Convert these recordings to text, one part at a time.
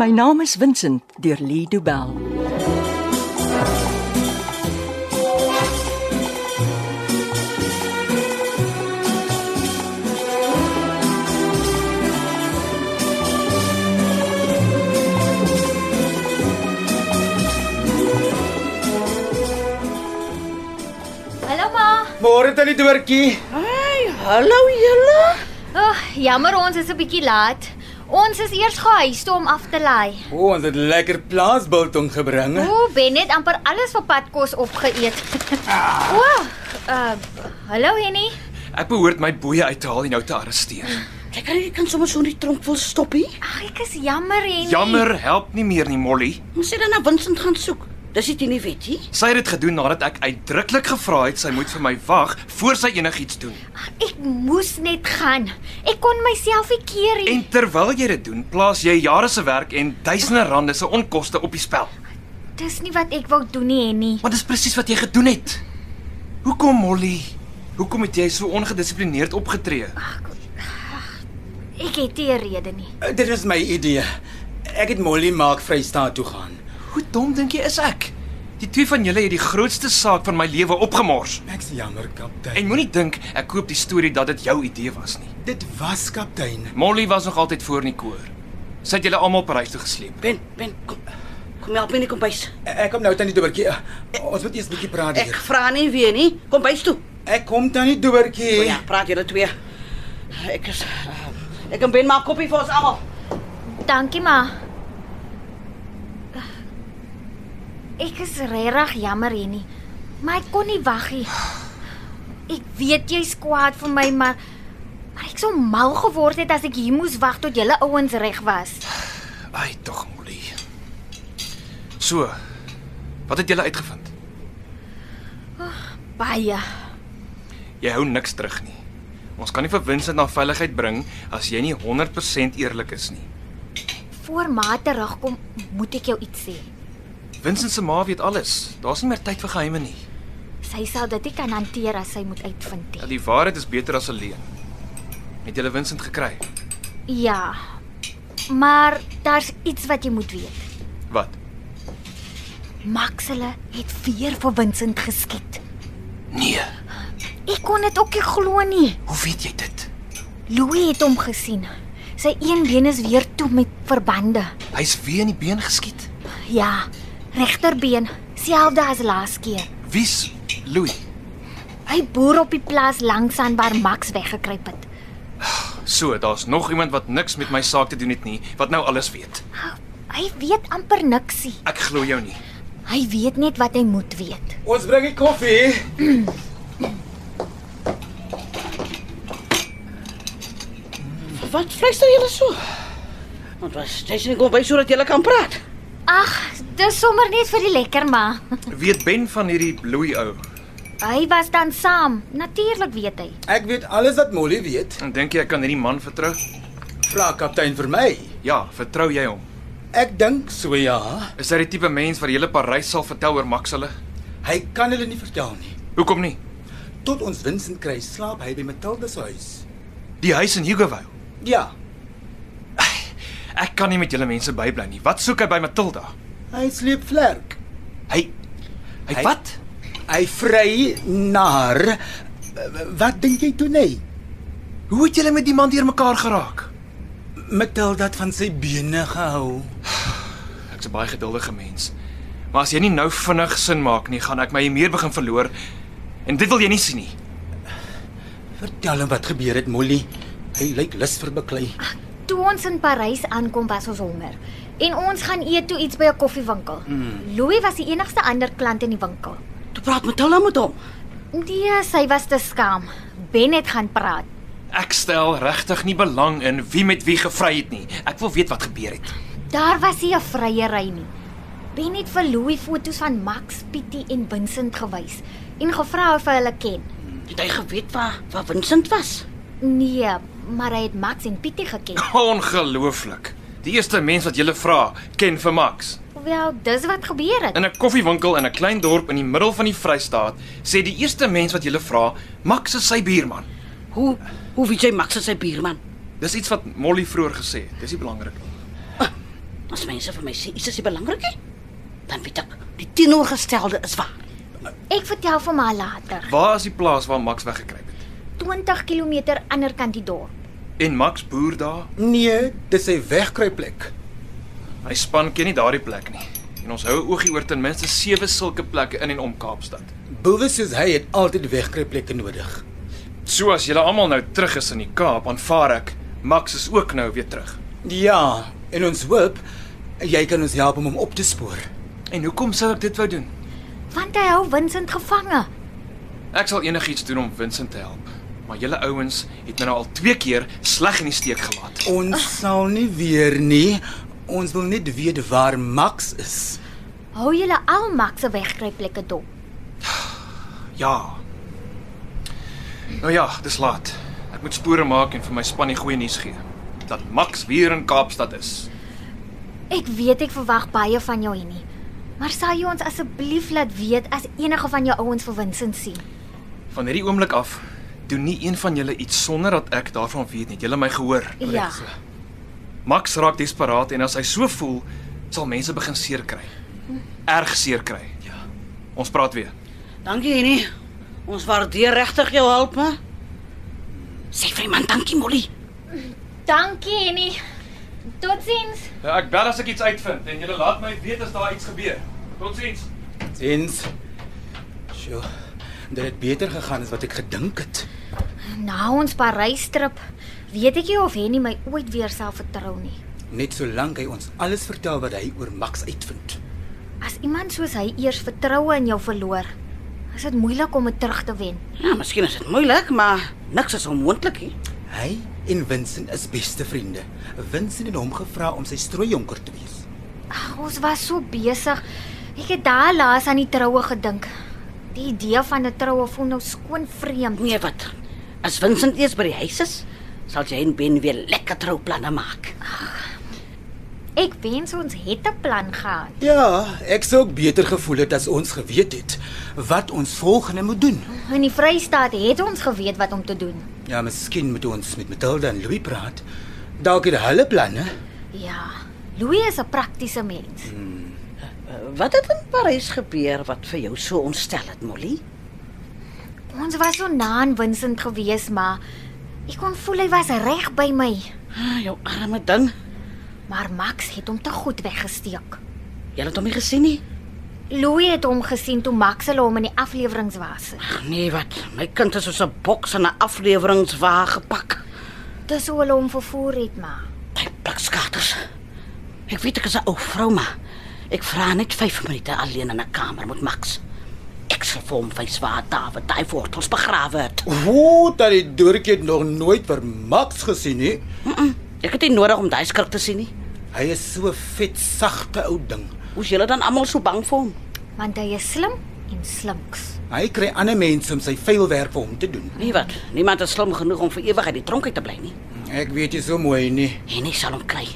My naam is Vincent deur Lee Du Bell. Hallo ma. Môre tannie Doortjie. Hallo julle. Oh, jammer ons is 'n bietjie laat. Ons is eers gehuis toe om af te laai. O, ons het lekker plaasbiltong gebring. hè? O, Ben het amper alles vir padkos opgeëet. O, uh, hallo Henny. Ek behoort my boeye uit te haal en jou te arresteer. Jy kan jy kan sommer so in die tronk wil stop hier. Ag, ek is jammer Henny. Jammer, help nie meer nie, Molly. Ons sê dan na Vincent gaan soek. Dis dit nie weet jy? Sy het dit gedoen nadat ek uitdruklik gevra het sy moet vir my wag voor sy enigiets doen. Ek moes net gaan. Ek kon myself nie keer nie. En terwyl jy dit doen, plaas jy jare se werk en duisende rande se onkoste op die spel. Dis nie wat ek wou doen nie, Henny. Want dis presies wat jy gedoen het. Hoekom, Molly? Hoekom het jy so ongedissiplineerd opgetree? Ek het nie 'n rede nie. Eh, Dit was my idee. Ek het Molly maak Vrystaat toe gaan. Hoe dom dink jy is ek? Die twee van julle het die grootste saak van my lewe opgemors. Ek's jammer, kaptein. En moenie dink ek koop die storie dat dit jou idee was nie. dit was kaptein. Molly was nog altyd voor in die koor. Sy het julle almal Parys toe gesleep. Ben, Ben, kom. Kom help my in die kombuis. Eh, Ek kom nou tannie Doortjie. Eh, Ons moet eers 'n bietjie praat Ek hier. vra nie weer nie. Kom bys toe. Ek kom tannie O Doortjie. ja, praat julle twee. Ek is ehm, ek en Ben maak koffie vir ons almal. Dankie ma. Ek is regtig jammer Henny, maar ek kon nie wag nie. Ek weet jy's kwaad vir my, maar maar ek sou mal geword het as ek hier moes wag tot julle ouens reg was. Ai, tog Molly. So, wat het julle uitgevind? Baie. Jy hou niks terug nie. Ons kan nie vir Vincent na veiligheid bring as jy nie 100% eerlik is nie. Voor ma terugkom, moet ek jou iets sê. Vincent se ma weet alles. Daar's nie meer tyd vir geheime nie. Sy sal dit nie kan hanteer as sy moet uitvind Ja, nie. die waarheid is beter as 'n leuen. Het julle Vincent gekry? Ja. Maar daar's iets wat jy moet weet. Wat? Max hulle het weer vir Vincent geskiet. Nee. Ek kon dit ook nie glo nie. Hoe weet jy dit? Louis het hom gesien. Sy een been is weer toe met verbande. Hy's weer in die been geskiet. Ja, regterbeen, selfde as laas keer. Wie's Louis? Hy boer op die plaas langs aan waar Max weggekruip het. So, daar's nog iemand wat niks met my saak te doen het nie, wat nou alles weet. Ah, Hy weet amper niksie. Ek glo jou nie. Hy weet net wat hy moet weet. Ons bring die koffie. Wat fluister julle so? Want was jy's in die kombuis sodat julle kan praat. Ag, dis sommer net vir die lekker ma. Weet Ben van hierdie Louis ou? Hy was dan saam. Natuurlik weet hy. Ek weet alles wat Molly weet. En dink jy ek kan hierdie man vertrou? Vra kaptein vir my. Ja, vertrou jy hom? Ek dink so ja. Is hy die tipe mens wat die hele Parys sal vertel oor Max hulle? Hy kan hulle nie vertel nie. Hoekom nie? Tot ons Vincent kry, slaap hy by Matilda se huis. Die huis in Hugoville. Ja, Ek kan nie met julle mense bybly nie. Wat soek hy by Matilda? hy sleep vlerk. Hy Hy Hy- wat? Hy vry naar wat dink jy toe nee? Hoe het julle met die man deurmekaar geraak? Matilda het van sy bene gehou. Ek's 'n baie geduldige mens. Maar as jy nie nou vinnig sin maak nie, gaan ek my hier meer begin verloor. En dit wil jy nie sien nie. Vertel hom wat gebeur het, Molly. Hy lyk lus vir beklei. Toe ons in Parys aankom, was ons honger. En ons gaan eet toe iets by 'n koffiewinkel. Mm. Louis was die enigste ander klant in die winkel. Toe praat Matilda met hom. Nee, sy was te skaam. Ben het gaan praat. Ek stel regtig nie belang in wie met wie gevry het nie. Ek wil weet wat gebeur het. Daar was nie 'n vryery nie. Ben het vir Louis foto's van Max, Pietie en Vincent gewys en gevra of hy hulle ken. Het hy geweet waar waar Vincent was? Nee, maar hy het Max en Pietie geken. Ongelooflik. Die eerste mens wat jy vra, ken vir Max. Wel, dis wat gebeur het. In 'n koffiewinkel in 'n klein dorp in die middel van die Vrystaat, sê die eerste mens wat jy vra, Max is sy buurman. Hoe hoe weet jy Max is sy buurman? Dis iets wat Molly vroeër gesê het. Dis nie belangrik nie. As mense vir my sê iets is nie belangrik nie, dan weet ek die teenoorgestelde is waar. Ek vertel vir my later. Waar is die plaas waar Max weggekruip het? 20 km ander kant die dorp. En Max boer daar. Nee, dis 'n wegkruipplek. My span ken nie daardie plek nie. En ons hou 'n oogie oor ten minste sewe sulke plekke in en om Kaapstad. Boewe soos hy het altyd wegkruipplekke nodig. So as julle almal nou terug is in die Kaap, aanvaar ek Max is ook nou weer terug. Ja, en ons hoop jy kan ons help om hom op te spoor. En hoekom sou ek dit wou doen? Want hy hou Vincent gevange. Ek sal enigiets doen om Vincent te help. Maar julle ouens het my nou al twee keer sleg in die steek gelaat. Ons sal nie weer nie. Ons wil net weet waar Max is. Hou julle al Max se wegkruipplekke dop. Ja. Nou ja, dis laat. Ek moet spore maak en vir my span die goeie nuus gee. Dat Max weer in Kaapstad is. Ek weet ek verwag baie van jou hierdie. Maar sal jy ons asseblief laat weet as enige van jou ouens vir Vincent sien? Van hierdie oomblik af doen nie een van julle iets sonder dat ek daarvan weet nie. Julle my gehoor. Ja. Max raak desperaat en as hy so voel, sal mense begin seer kry. Erg seer kry. Ja. Ons praat weer. Dankie Henny. Ons waardeer regtig jou hulp, hè? Sê vir my man dankie Molly. Dankie, Annie. Totsiens. Nou, Ek bel as ek iets uitvind en julle laat my weet as daar iets gebeur. Totsiens. Sins. Sjoe. Dit het beter gegaan as wat ek gedink het. Na ons Parys trip, weet ek nie of Henny my ooit weer sal vertrou nie. Net solank hy ons alles vertel wat hy oor Max uitvind. As iemand soos hy eers vertroue in jou verloor, is dit moeilik om dit terug te wen. Ja, miskien is dit moeilik, maar niks is onmoontlik nie. Hy en Vincent is beste vriende. Vincent het hom gevra om sy strooijonker te wees. Ag, ons was so besig. Ek het daar laas aan die troue gedink. Die idee van 'n troue voel nou skoon vreemd. Nee, wat? As Vincent eers by die huis is, sal jy en Ben weer lekker trouplanne maak. Ek wens ons het 'n plan gehad. Ja, ek sou ook beter gevoel het as ons geweet het wat ons volgende moet doen. In die Vrystaat het ons geweet wat om te doen. Ja, miskien moet ons met Matilda en Louis praat. Dalk het hulle planne. Ja, Louis is 'n praktiese mens. Uh, Wat het in Parys gebeur wat vir jou so ontstel het, Molly? Ons was so na aan Vincent gewees, maar ek kon voel hy was reg by my. Ah, jou arme ding. Maar Max het hom te goed weggesteek. Jy het hom nie gesien nie. Louis het hom gesien toe Max hulle hom in die afleweringe was. Ag nee, wat? My kind is soos 'n boks in 'n afleweringswa gepak. Dis hoe hulle hom vervoer het, maar By blikskaters. Ek weet ek is 'n ou vrou, maar ek vra net 5 minute alleen in 'n kamer met Max. Ek sal vir hom wys waar David daai wortels begrawe het. Woe, dat die dorpie het nog nooit vir Max gesien nie. Mm -mm, ek het nie nodig om daai skurk te sien nie. Hy is so vet sagte ou ding. Hoe's julle dan almal so bang vir hom? want hy is slim en slinks. Hy kry ander mense om sy vuilwerk vir hom te doen. Nee wat, niemand is slim genoeg om vir ewig uit die tronk uit te bly nie. Ek weet jy so mooi nie. En hy sal hom kry.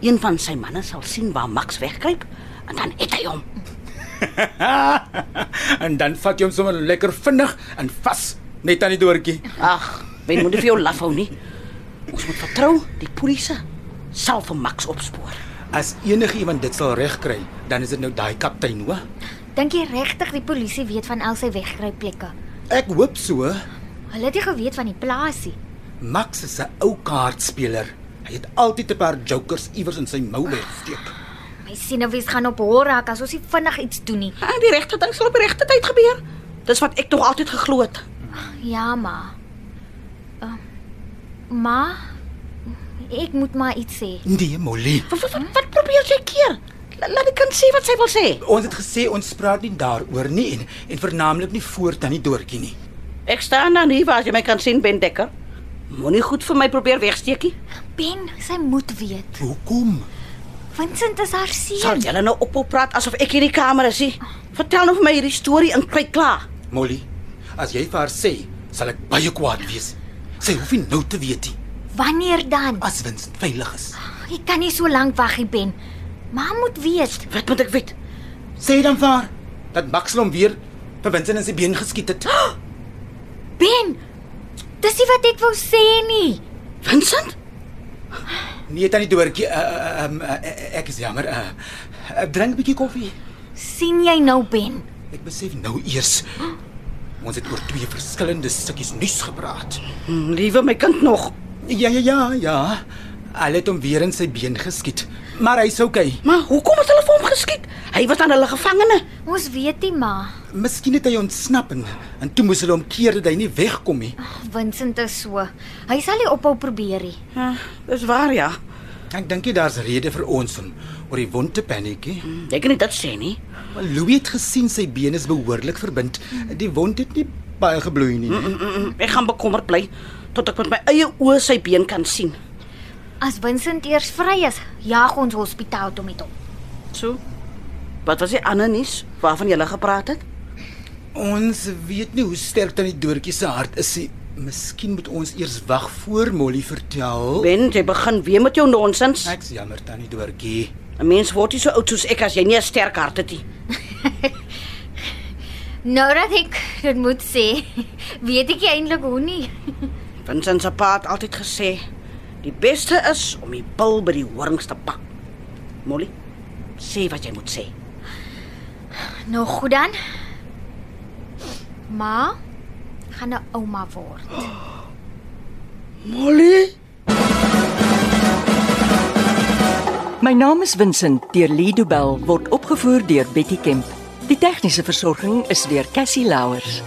Een van sy manne sal sien waar Max wegkruip en dan eet hy hom. en dan vat jy hom sommer lekker vinnig en vas net aan die dorpie. Ag, wen moet nie vir jou laf hou nie. Ons moet vertrou die polisie sal vir Max opspoor. As enige iemand dit sal regkry, dan is dit nou daai kaptein, hoor. Dink jy regtig die polisie weet van al sy wegkruipplekke? Ek hoop so. Hulle het nie geweet van die plaasie. Max is 'n ou kaartspeler. Hy het altyd 'n paar jokers iewers in sy mou weggesteek. My sienewies gaan op hol raak as ons nie vinnig iets doen nie. En die regte ding sal op die regte tyd gebeur. Dis wat ek tog altyd geglo het. Ja, ma. Uh, ma, ek moet maar iets sê. Nee, Molly. Wat, wat, wat, wat probeer jy keer? La- Laat die kind sê wat sy wil sê. Ons het gesê ons praat nie daaroor nie en en veralnik nie voort aan die dorpie nie. Ek staan dan hier waar jy my kan sien, Ben Dekker. Moenie goed vir my probeer wegsteekie. Ben, sy moet weet. Hoekom? Vincent is haar Sal seun. jy nou ophou praat asof ek hierdie kamer is? nie? Vertel nou vir my hierdie storie en kry klaar. Molly, as jy vir haar sê, sal ek baie kwaad wees. Sy hoef nie nou te weet nie Wanneer dan? as Vincent veilig is. Ah. Ek kan nie so lank wag nie, Ben. Ma moet weet. Wat moet ek weet? Sê dan vir haar dat Max hom weer vir Vincent in sy been geskiet het. Ben, dis nie wat ek wou sê nie. Vincent? Nee, tannie Doortjie, uh, uh, um, uh, ek is jammer. Uh, uh, drink 'n bietjie koffie. sien jy nou Ben? Ek besef nou eers ons het oor twee verskillende stukkies nuus gepraat. Hm, Liewe my kind nog. Ja ja ja ja. Hulle het hom weer in sy been geskiet, maar hy's okay. Maar hoekom het hulle vir hom geskiet? Hy was aan hulle gevangene. Ons weet nie maar. Miskien het hy ontsnap en, en toe moes hulle hom keer dat hy nie wegkom nie. Vincent is so. Hy sal nie ophou probeer nie. Ja, dis waar ja. Ek dink jy daar's rede vir ons om oor die wond te paniekie. Jy Hm, kan dit sê nie. Maar Louis het gesien sy been is behoorlik verbind. Die wond het nie baie gebloei nie. Mm, mm, mm, Ek gaan bekommerd bly tot ek met my eie oë sy been kan sien. As Vincent eers vry is, jaag ons hospitaal toe met hom. So. Wat was die ander nuus waarvan jy gepraat het? Ons weet nie hoe sterk tannie Doortjie se hart is nie. Miskien moet ons eers wag voor Molly vertel. Ben, jy begin weer met jou nonsens. Ek's jammer tannie Doortjie. 'n Mens word nie so oud soos ek as jy nie 'n sterk hart het nie. Nou dat ek dit moet sê, weet ek nie eintlik hoe nie. Vincent se pa het altyd gesê, die beste is om die bil by die horings te pak. Molly, sê wat jy moet sê. Nou goed dan. Ma gaan 'n ouma word. Molly, My naam is Vincent deur Lido Bell word opgevoer deur Betty Kemp. Die tegniese versorging is deur Cassie Louers.